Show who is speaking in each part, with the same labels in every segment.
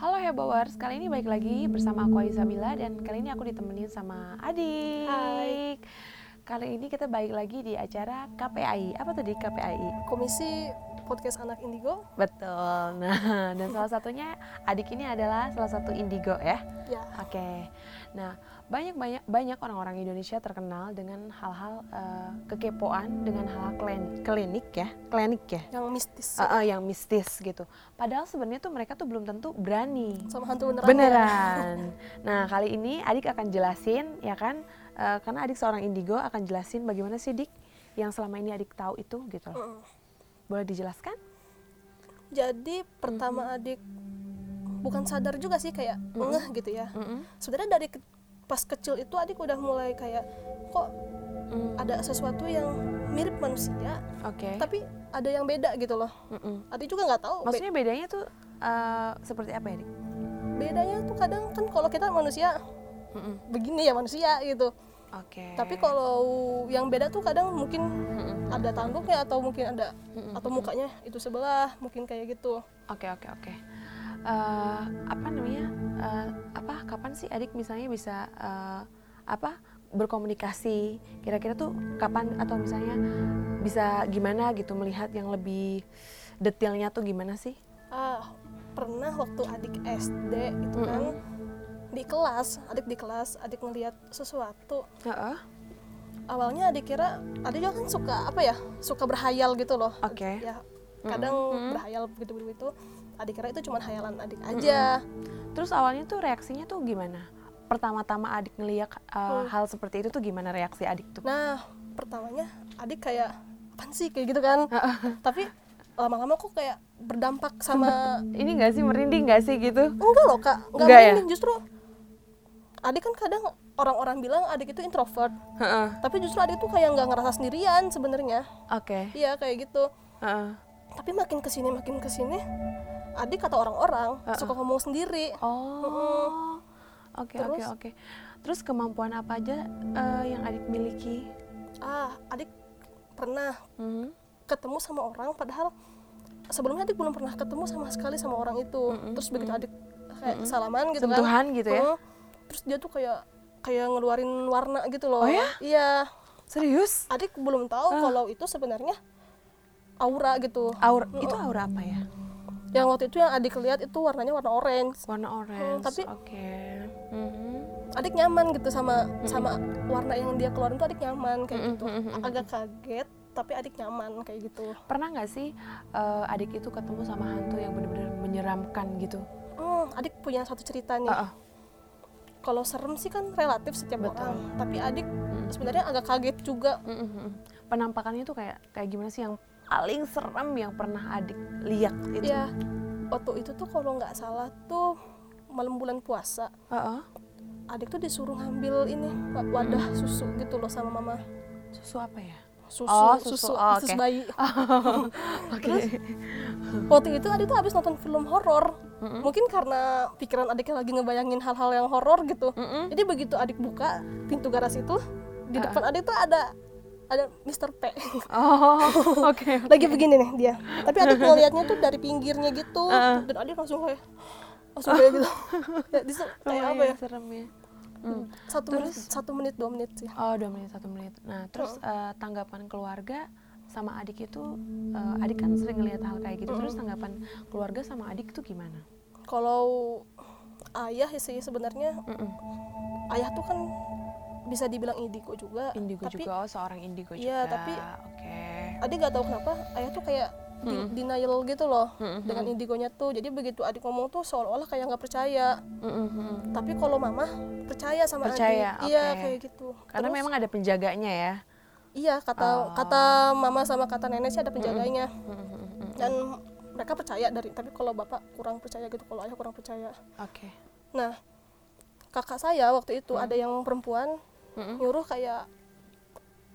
Speaker 1: Halo Hebowers, kali ini balik lagi bersama aku Aizabila dan kali ini aku ditemenin sama Adik.
Speaker 2: Hai.
Speaker 1: Kali ini kita balik lagi di acara KPAI. Apa tuh di KPAI?
Speaker 2: Komisi Podcast Anak Indigo
Speaker 1: Betul. Nah, dan salah satunya Adik ini adalah salah satu indigo ya.
Speaker 2: ya
Speaker 1: Oke. Nah, banyak banyak banyak orang-orang Indonesia terkenal dengan hal-hal eh, kekepoan dengan hal klinik, klinik ya, klinik ya.
Speaker 2: yang mistis
Speaker 1: Eh, eh, yang mistis gitu. Padahal sebenarnya tuh mereka tuh belum tentu berani.
Speaker 2: sama hantu beneran. ya.
Speaker 1: Beneran. Nah, kali ini Adik akan jelasin ya kan eh, karena Adik seorang indigo akan jelasin bagaimana sih Dik yang selama ini Adik tahu itu gitu loh.
Speaker 2: Mm.
Speaker 1: Boleh dijelaskan?
Speaker 2: Jadi pertama adik bukan sadar juga sih kayak ngeh gitu ya.
Speaker 1: Mm-hmm. Mm-mm.
Speaker 2: Sebenarnya dari ke- pas kecil itu adik udah mulai kayak kok
Speaker 1: Mm.
Speaker 2: ada sesuatu yang mirip manusia
Speaker 1: Oke.
Speaker 2: tapi ada yang beda gitu loh.
Speaker 1: Mm-mm.
Speaker 2: Adik juga nggak tahu. Be-
Speaker 1: Maksudnya bedanya tuh eh, seperti apa ya, Dik?
Speaker 2: bedanya tuh kadang kan kalau kita manusia
Speaker 1: Mm-mm.
Speaker 2: begini ya manusia gitu.
Speaker 1: Oke.
Speaker 2: Tapi kalau yang beda tuh kadang mungkin
Speaker 1: Mm-mm.
Speaker 2: ada tanduknya atau mungkin ada
Speaker 1: Mm-mm.
Speaker 2: atau mukanya itu sebelah mungkin kayak gitu.
Speaker 1: Oke oke oke. Eh, apa namanya? Eh, apa kapan sih adik misalnya bisa eh, apa berkomunikasi? Kira-kira tuh kapan atau misalnya bisa gimana gitu melihat yang lebih detailnya tuh gimana sih?
Speaker 2: Ah, pernah waktu adik SD itu kan di kelas, adik di kelas, adik ngelihat sesuatu.
Speaker 1: Heeh.
Speaker 2: Awalnya adik kira, adik juga kan suka apa ya? Suka berhayal gitu loh.
Speaker 1: Oke.
Speaker 2: Ya, kadang berhayal begitu-begitu. Adik kira itu cuma hayalan adik aja.
Speaker 1: Terus awalnya tuh reaksinya tuh gimana? Pertama-tama adik ngeliat eh, hal seperti itu tuh gimana reaksi adik tuh?
Speaker 2: Nah, pertamanya adik kayak apaan sih kayak gitu kan. Tapi lama-lama kok kayak berdampak sama
Speaker 1: Ini nggak sih merinding nggak sih gitu?
Speaker 2: enggak loh kak enggak,
Speaker 1: Enggak ya?
Speaker 2: merinding, justru adik kan kadang orang-orang bilang adik itu introvert
Speaker 1: Heeh.
Speaker 2: tapi justru adik tuh kayak nggak ngerasa sendirian sebenarnya
Speaker 1: Oke.
Speaker 2: iya kayak gitu
Speaker 1: Heeh.
Speaker 2: tapi makin kesini makin kesini adik kata orang-orang suka ngomong sendiri
Speaker 1: Oh, oke oke
Speaker 2: Terus?
Speaker 1: oke. Terus kemampuan apa aja eh, yang adik miliki?
Speaker 2: ah adik pernah
Speaker 1: Mhm.
Speaker 2: ketemu sama orang padahal sebelumnya adik belum pernah ketemu sama sekali sama orang itu terus begitu adik kayak salaman gitu kan
Speaker 1: Sentuhan gitu ya?
Speaker 2: Mm. terus dia tuh kayak kayak ngeluarin warna gitu loh
Speaker 1: Oh ya? Ah.
Speaker 2: iya
Speaker 1: Serius?
Speaker 2: adik belum tahu kalau itu sebenarnya aura gitu
Speaker 1: Aura itu aura apa ya?
Speaker 2: yang waktu itu yang adik lihat itu warnanya warna orange
Speaker 1: Warna orange.
Speaker 2: Mm, tapi-
Speaker 1: oke. Mhm.
Speaker 2: adik nyaman gitu sama sama warna yang dia keluarin tuh adik nyaman kayak
Speaker 1: Mm-mm,
Speaker 2: gitu
Speaker 1: mm-mm.
Speaker 2: agak kaget tapi adik nyaman kayak gitu
Speaker 1: Pernah nggak sih eh, adik itu ketemu sama hantu yang benar-benar menyeramkan gitu?
Speaker 2: Hmm, adik punya satu cerita nih
Speaker 1: Heeh.
Speaker 2: kalau serem sih kan relatif setiap
Speaker 1: Uh-uh. Betul.
Speaker 2: orang tapi adik sebenarnya agak kaget juga
Speaker 1: Mhm. Penampakannya tuh kayak kayak gimana sih yang paling serem yang pernah adik lihat itu?
Speaker 2: ya waktu itu tuh kalau nggak salah tuh malam bulan puasa
Speaker 1: Heeh.
Speaker 2: adik tuh disuruh ngambil ini wa- wadah susu gitu loh sama mama
Speaker 1: Susu apa ya?
Speaker 2: susu
Speaker 1: Oh, susu.
Speaker 2: susu
Speaker 1: Oh,
Speaker 2: susu
Speaker 1: oke.
Speaker 2: bayi
Speaker 1: Oke.
Speaker 2: waktu itu adik tuh habis nonton film horor mungkin karena pikiran adiknya lagi ngebayangin hal-hal yang horor gitu
Speaker 1: Mhm.
Speaker 2: jadi begitu adik buka pintu garasi itu di depan adik tuh ada ada Mr. P
Speaker 1: Oh, oke.
Speaker 2: lagi begini nih dia tapi adik ngeliatnya tuh dari pinggirnya gitu dan adik langsung kayak langsung kayak gitu ya, dia tuh kayak apa ya
Speaker 1: Serem ya.
Speaker 2: satu menit satu menit dua menit sih
Speaker 1: Oh, dua menit, satu menit. Nah, terus
Speaker 2: Oh.
Speaker 1: eh, tanggapan keluarga sama adik itu, eh, adik kan sering ngelihat hal kayak gitu. Terus tanggapan keluarga sama adik itu gimana?
Speaker 2: kalau ayah ya sih sebenarnya
Speaker 1: Mm-mm.
Speaker 2: ayah tuh kan bisa dibilang indigo juga
Speaker 1: Indigo
Speaker 2: tapi
Speaker 1: juga, oh seorang indigo juga.
Speaker 2: Iya, tapi-
Speaker 1: Oke.
Speaker 2: adik nggak tahu kenapa ayah tuh kayak di- denial gitu loh dengan indigonya tuh jadi begitu adik ngomong tuh seolah-olah kayak nggak percaya
Speaker 1: Mm-mm.
Speaker 2: tapi kalau mama percaya sama
Speaker 1: Percaya,
Speaker 2: adik iya
Speaker 1: oke.
Speaker 2: kayak gitu
Speaker 1: Karena
Speaker 2: Terus,
Speaker 1: memang ada penjaganya ya.
Speaker 2: iya kata kata mama sama kata nenek sih ada penjaganya
Speaker 1: Mm-mm.
Speaker 2: dan mereka percaya dari tapi kalau bapak kurang percaya gitu kalau ayah kurang percaya
Speaker 1: Oke.
Speaker 2: nah kakak saya
Speaker 1: Mm.
Speaker 2: waktu itu ada yang perempuan
Speaker 1: Mm-mm.
Speaker 2: nyuruh kayak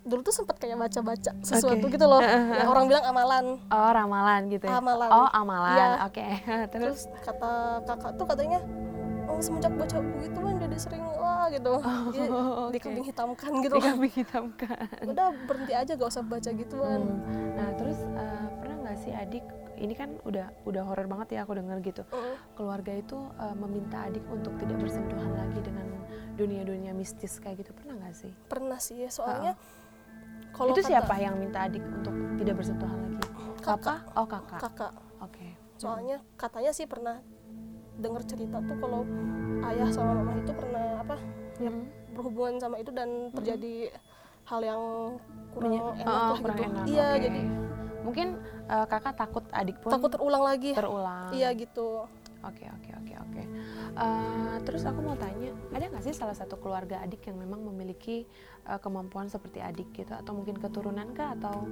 Speaker 2: dulu tuh sempat kayak baca-baca sesuatu
Speaker 1: Oke.
Speaker 2: gitu loh Yang orang bilang amalan
Speaker 1: Oh, ramalan gitu ya.
Speaker 2: Amalan.
Speaker 1: Oh, amalan.
Speaker 2: Iya.
Speaker 1: Oke. terus
Speaker 2: terus kata kakak tuh katanya oh semenjak bocah begitu kan jadi sering wah gitu Jadi
Speaker 1: Oh, oke.
Speaker 2: dikambing hitamkan gitu kan
Speaker 1: dikambing hitamkan. Hmm.
Speaker 2: udah berhenti aja gak usah baca gituan
Speaker 1: Nah, terus eh, pernah nggak sih adik ini kan udah udah horor banget ya aku dengar gitu
Speaker 2: Mm.
Speaker 1: keluarga itu eh, meminta adik untuk tidak bersentuhan lagi dengan dunia-dunia mistis kayak gitu pernah nggak sih
Speaker 2: pernah sih ya, soalnya kalau
Speaker 1: Ah. itu
Speaker 2: kata
Speaker 1: siapa yang minta adik untuk tidak bersentuhan lagi
Speaker 2: Kakak.
Speaker 1: papa oh kakak oke
Speaker 2: kakak soalnya katanya sih pernah dengar cerita tuh kalau ayah sama mama itu pernah apa ya,
Speaker 1: Mm.
Speaker 2: berhubungan sama itu
Speaker 1: Hmm.
Speaker 2: dan terjadi hal yang kurang
Speaker 1: Menye-
Speaker 2: enak
Speaker 1: Oh,
Speaker 2: lah
Speaker 1: kurang
Speaker 2: gitu
Speaker 1: enak,
Speaker 2: iya
Speaker 1: oke.
Speaker 2: jadi
Speaker 1: mungkin eh, kakak takut adik pun
Speaker 2: takut terulang lagi
Speaker 1: terulang
Speaker 2: iya gitu
Speaker 1: Oke oke oke oke. Eh, terus aku mau tanya, ada nggak sih salah satu keluarga adik yang memang memiliki eh, kemampuan seperti adik gitu, atau mungkin keturunan kah, atau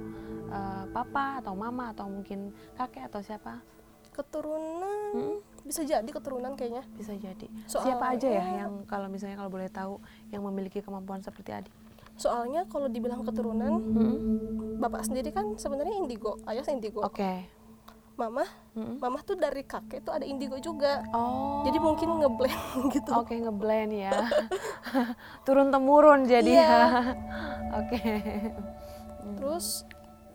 Speaker 1: eh, papa, atau mama, atau mungkin kakek atau siapa?
Speaker 2: keturunan
Speaker 1: Mm-mm.
Speaker 2: bisa jadi keturunan kayaknya
Speaker 1: Bisa jadi.
Speaker 2: Soal-
Speaker 1: siapa aja ya yang kalau misalnya kalau boleh tahu yang memiliki kemampuan seperti adik?
Speaker 2: soalnya kalau dibilang keturunan
Speaker 1: Mm-mm.
Speaker 2: bapak sendiri kan sebenarnya indigo ayah indigo
Speaker 1: Oke.
Speaker 2: mama
Speaker 1: Mm-mm.
Speaker 2: mama tuh dari kakek tuh ada indigo juga
Speaker 1: Oh.
Speaker 2: jadi mungkin ngeblend gitu
Speaker 1: Oke ngeblend ya, turun temurun jadi
Speaker 2: Iya.
Speaker 1: ya. Oke.
Speaker 2: Terus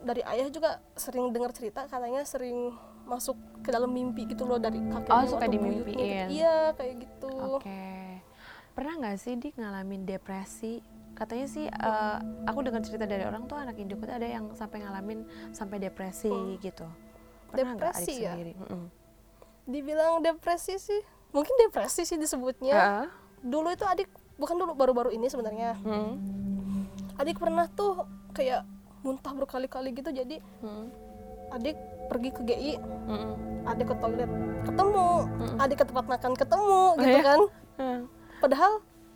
Speaker 2: dari ayah juga sering dengar cerita katanya sering masuk ke dalam mimpi gitu loh dari kakek
Speaker 1: Oh, suka
Speaker 2: atau buyutnya
Speaker 1: dimimpiin.
Speaker 2: gitu. Iya, kayak gitu.
Speaker 1: Oke. Pernah nggak sih Dik ngalamin depresi? Katanya sih eh, aku dengar cerita dari orang tuh anak indigo tuh ada yang sampai ngalamin sampai depresi gitu. Pernah nggak adik
Speaker 2: Hmm. Depresi ya?
Speaker 1: sendiri? Mm-mm.
Speaker 2: Dibilang depresi sih. Mungkin depresi sih disebutnya.
Speaker 1: Heeh.
Speaker 2: Dulu itu adik bukan dulu baru-baru ini sebenarnya.
Speaker 1: Mm.
Speaker 2: Adik pernah tuh kayak muntah berkali-kali gitu jadi
Speaker 1: Mm.
Speaker 2: adik pergi ke GI,
Speaker 1: Mm-mm.
Speaker 2: adik ke toilet ketemu,
Speaker 1: Mm.
Speaker 2: adik ke tempat makan ketemu gitu
Speaker 1: iya?
Speaker 2: kan.
Speaker 1: Mm.
Speaker 2: Padahal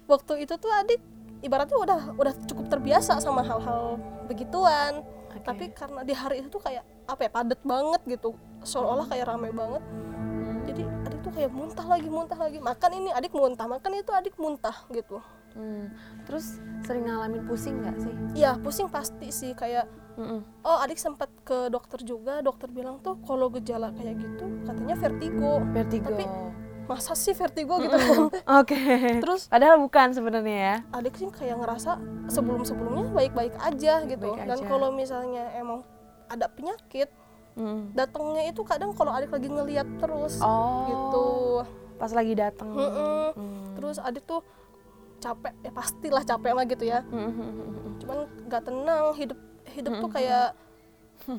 Speaker 2: waktu itu tuh adik ibaratnya udah udah cukup terbiasa sama hal-hal begituan.
Speaker 1: Oke.
Speaker 2: tapi karena di hari itu tuh kayak apa ya padat banget gitu seolah-olah kayak ramai banget
Speaker 1: Mm.
Speaker 2: jadi adik tuh kayak muntah lagi muntah lagi makan ini adik muntah makan itu adik muntah gitu
Speaker 1: Mm. terus sering ngalamin pusing nggak sih?
Speaker 2: ya pusing pasti sih kayak
Speaker 1: Mm-mm.
Speaker 2: oh adik sempat ke dokter juga dokter bilang tuh kalau gejala kayak gitu katanya vertigo
Speaker 1: Vertigo.
Speaker 2: Tapi- masa sih vertigo gitu
Speaker 1: Oke.
Speaker 2: Terus-
Speaker 1: padahal bukan sebenarnya ya.
Speaker 2: adik sih kayak ngerasa sebelum-sebelumnya baik-baik aja gitu
Speaker 1: Baik-baik
Speaker 2: dan
Speaker 1: aja.
Speaker 2: kalau misalnya emang ada penyakit
Speaker 1: Mm.
Speaker 2: datangnya itu kadang kalau adik lagi ngeliat terus
Speaker 1: Oh.
Speaker 2: gitu
Speaker 1: Pas lagi datang.
Speaker 2: Mm-mm.
Speaker 1: Mm.
Speaker 2: terus adik tuh capek ya pastilah capek lah gitu ya
Speaker 1: Mm.
Speaker 2: cuman nggak tenang hidup hidup tuh kayak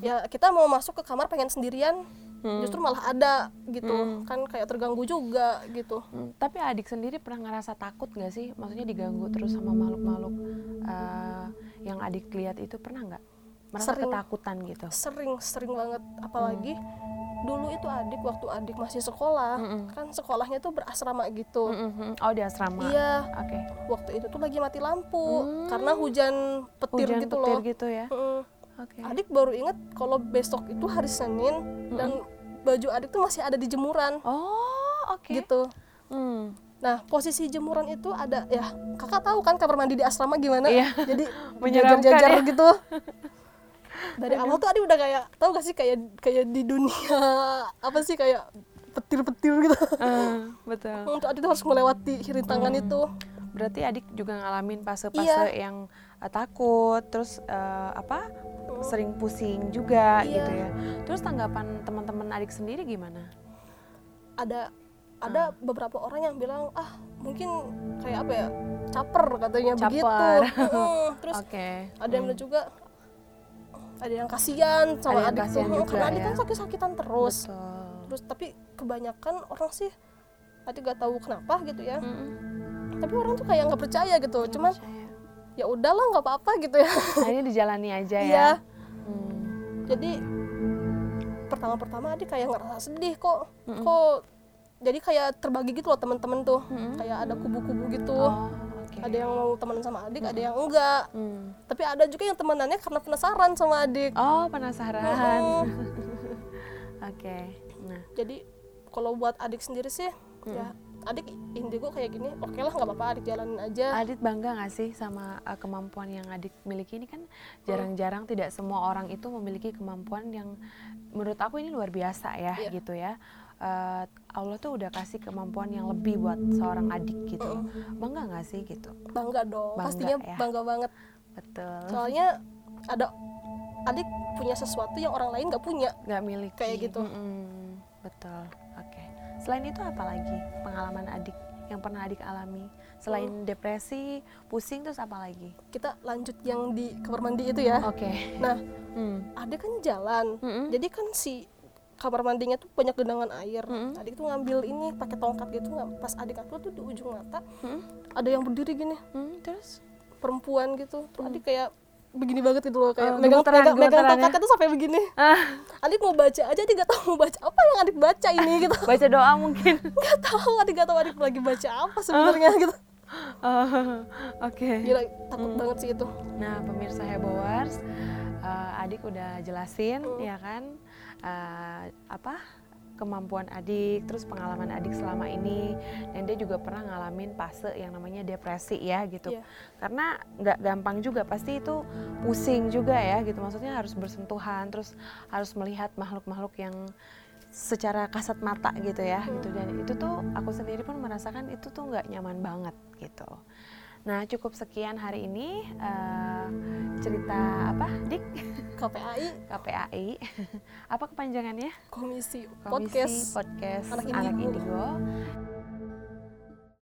Speaker 2: ya kita mau masuk ke kamar pengen sendirian
Speaker 1: Hmm.
Speaker 2: justru malah ada gitu
Speaker 1: Hmm.
Speaker 2: kan kayak terganggu juga gitu
Speaker 1: Hmm, tapi adik sendiri pernah ngerasa takut nggak sih? Maksudnya diganggu terus sama makhluk-makhluk eh, yang adik lihat itu pernah nggak? Merasa
Speaker 2: Sering.
Speaker 1: ketakutan gitu?
Speaker 2: sering sering banget apalagi dulu itu adik waktu adik masih sekolah
Speaker 1: Mm-mm.
Speaker 2: kan sekolahnya tuh berasrama gitu
Speaker 1: Mm-mm-mm. Oh di asrama.
Speaker 2: iya
Speaker 1: Oke.
Speaker 2: waktu itu tuh lagi mati lampu
Speaker 1: Hmm.
Speaker 2: karena hujan petir
Speaker 1: Hujan
Speaker 2: gitu
Speaker 1: petir
Speaker 2: loh
Speaker 1: gitu ya?
Speaker 2: Mm-mm.
Speaker 1: Oke. Hmm.
Speaker 2: adik baru inget kalau besok itu hari Senin dan baju adik tuh masih ada di jemuran
Speaker 1: Oh oke.
Speaker 2: gitu
Speaker 1: Hmm.
Speaker 2: nah posisi jemuran itu ada ya kakak tahu kan kamar mandi di asrama gimana
Speaker 1: Iya.
Speaker 2: jadi
Speaker 1: Menyeramkan
Speaker 2: jajar-jajar
Speaker 1: ya.
Speaker 2: gitu dari awal tuh adik udah kayak tahu gak sih kayak kayak di dunia apa sih kayak petir-petir gitu
Speaker 1: Eh, betul.
Speaker 2: untuk adik tuh harus melewati rintangan
Speaker 1: Hmm.
Speaker 2: itu
Speaker 1: Berarti adik juga ngalamin fase-fase
Speaker 2: Iya.
Speaker 1: yang eh, takut, terus eh, apa? Sering pusing juga
Speaker 2: Iya.
Speaker 1: gitu ya. Terus tanggapan teman-teman adik sendiri gimana?
Speaker 2: ada ada
Speaker 1: Hmm.
Speaker 2: beberapa orang yang bilang ah mungkin kayak apa ya caper katanya begitu
Speaker 1: Caper.
Speaker 2: Mm, terus
Speaker 1: Oke. Hmm,
Speaker 2: ada yang bilang juga ada yang kasihan
Speaker 1: Ada
Speaker 2: sama
Speaker 1: yang
Speaker 2: adik tuh,
Speaker 1: kasihan
Speaker 2: mm,
Speaker 1: juga
Speaker 2: karena adik
Speaker 1: ya.
Speaker 2: kan sakit-sakitan terus
Speaker 1: Betul.
Speaker 2: terus tapi kebanyakan orang sih adik gak tahu kenapa gitu ya
Speaker 1: Mm-mm.
Speaker 2: tapi orang tuh kayak nggak percaya gitu cuman
Speaker 1: Percaya.
Speaker 2: ya udahlah nggak apa-apa gitu ya
Speaker 1: akhirnya dijalani aja ya.
Speaker 2: Iya.
Speaker 1: Hmm.
Speaker 2: jadi pertama-pertama adik kayak ngerasa sedih kok
Speaker 1: Hmm.
Speaker 2: kok jadi kayak terbagi gitu loh teman-teman tuh
Speaker 1: Mm-mm.
Speaker 2: kayak ada kubu-kubu gitu
Speaker 1: Hmm. Oh, oke.
Speaker 2: ada yang mau temenan sama adik ada yang enggak
Speaker 1: Hmm.
Speaker 2: tapi ada juga yang temenannya karena penasaran sama adik
Speaker 1: Oh, penasaran.
Speaker 2: Oh.
Speaker 1: Oke. Nah,
Speaker 2: jadi kalau buat adik sendiri sih ya adik indigo kayak gini oke lah nggak apa-apa adik jalanin aja
Speaker 1: Adit bangga nggak sih sama uh, kemampuan yang Adit miliki ini kan jarang-jarang tidak semua orang itu memiliki kemampuan yang menurut aku ini luar biasa ya
Speaker 2: Iya.
Speaker 1: gitu ya. Uh, Allah tuh udah kasih kemampuan yang lebih buat seorang adik gitu. Bangga nggak sih gitu?
Speaker 2: bangga dong
Speaker 1: Bangga
Speaker 2: pastinya
Speaker 1: ya.
Speaker 2: bangga banget
Speaker 1: Betul.
Speaker 2: soalnya ada adik punya sesuatu yang orang lain nggak punya
Speaker 1: nggak milik
Speaker 2: Kayak gitu.
Speaker 1: betul oke selain itu apa lagi pengalaman adik yang pernah adik alami selain depresi pusing terus apa lagi
Speaker 2: kita lanjut yang di kamar mandi itu ya
Speaker 1: oke
Speaker 2: nah
Speaker 1: Hmm.
Speaker 2: ada kan jalan
Speaker 1: Mm-mm.
Speaker 2: jadi kan si kamar mandinya tuh banyak genangan air
Speaker 1: Mm-mm.
Speaker 2: adik tuh ngambil ini pakai tongkat gitu nggak pas adik aku tuh di ujung mata
Speaker 1: Mm-mm.
Speaker 2: ada yang berdiri gini
Speaker 1: Hmm, terus
Speaker 2: perempuan gitu terus adik kayak begini banget gitu loh kayak
Speaker 1: Hmm. Oh,
Speaker 2: megang
Speaker 1: gemeteran,
Speaker 2: megang, megang
Speaker 1: gemeteran ya.
Speaker 2: tongkat itu sampai begini
Speaker 1: ah
Speaker 2: adik mau baca aja adik nggak tahu mau baca apa yang adik baca ini gitu
Speaker 1: baca doa mungkin
Speaker 2: nggak tahu adik nggak tahu adik lagi baca apa sebenarnya gitu
Speaker 1: Oh, oke
Speaker 2: gila takut
Speaker 1: Hmm.
Speaker 2: banget sih itu
Speaker 1: Nah, pemirsa Hebowers, eh, adik udah jelasin ya kan eh, apa kemampuan adik, terus pengalaman adik selama ini, dan dia juga pernah ngalamin fase yang namanya depresi ya gitu.
Speaker 2: Iya.
Speaker 1: Karena nggak gampang juga, pasti itu pusing juga ya gitu. Maksudnya harus bersentuhan, terus harus melihat makhluk-makhluk yang secara kasat mata gitu ya gitu dan itu tuh aku sendiri pun merasakan itu tuh nggak nyaman banget gitu. Nah cukup sekian hari ini eh, cerita apa dik
Speaker 2: KPAI
Speaker 1: KPAI apa kepanjangannya
Speaker 2: komisi,
Speaker 1: Komisi
Speaker 2: podcast
Speaker 1: podcast
Speaker 2: Anak
Speaker 1: anak
Speaker 2: Indigo.
Speaker 1: indigo.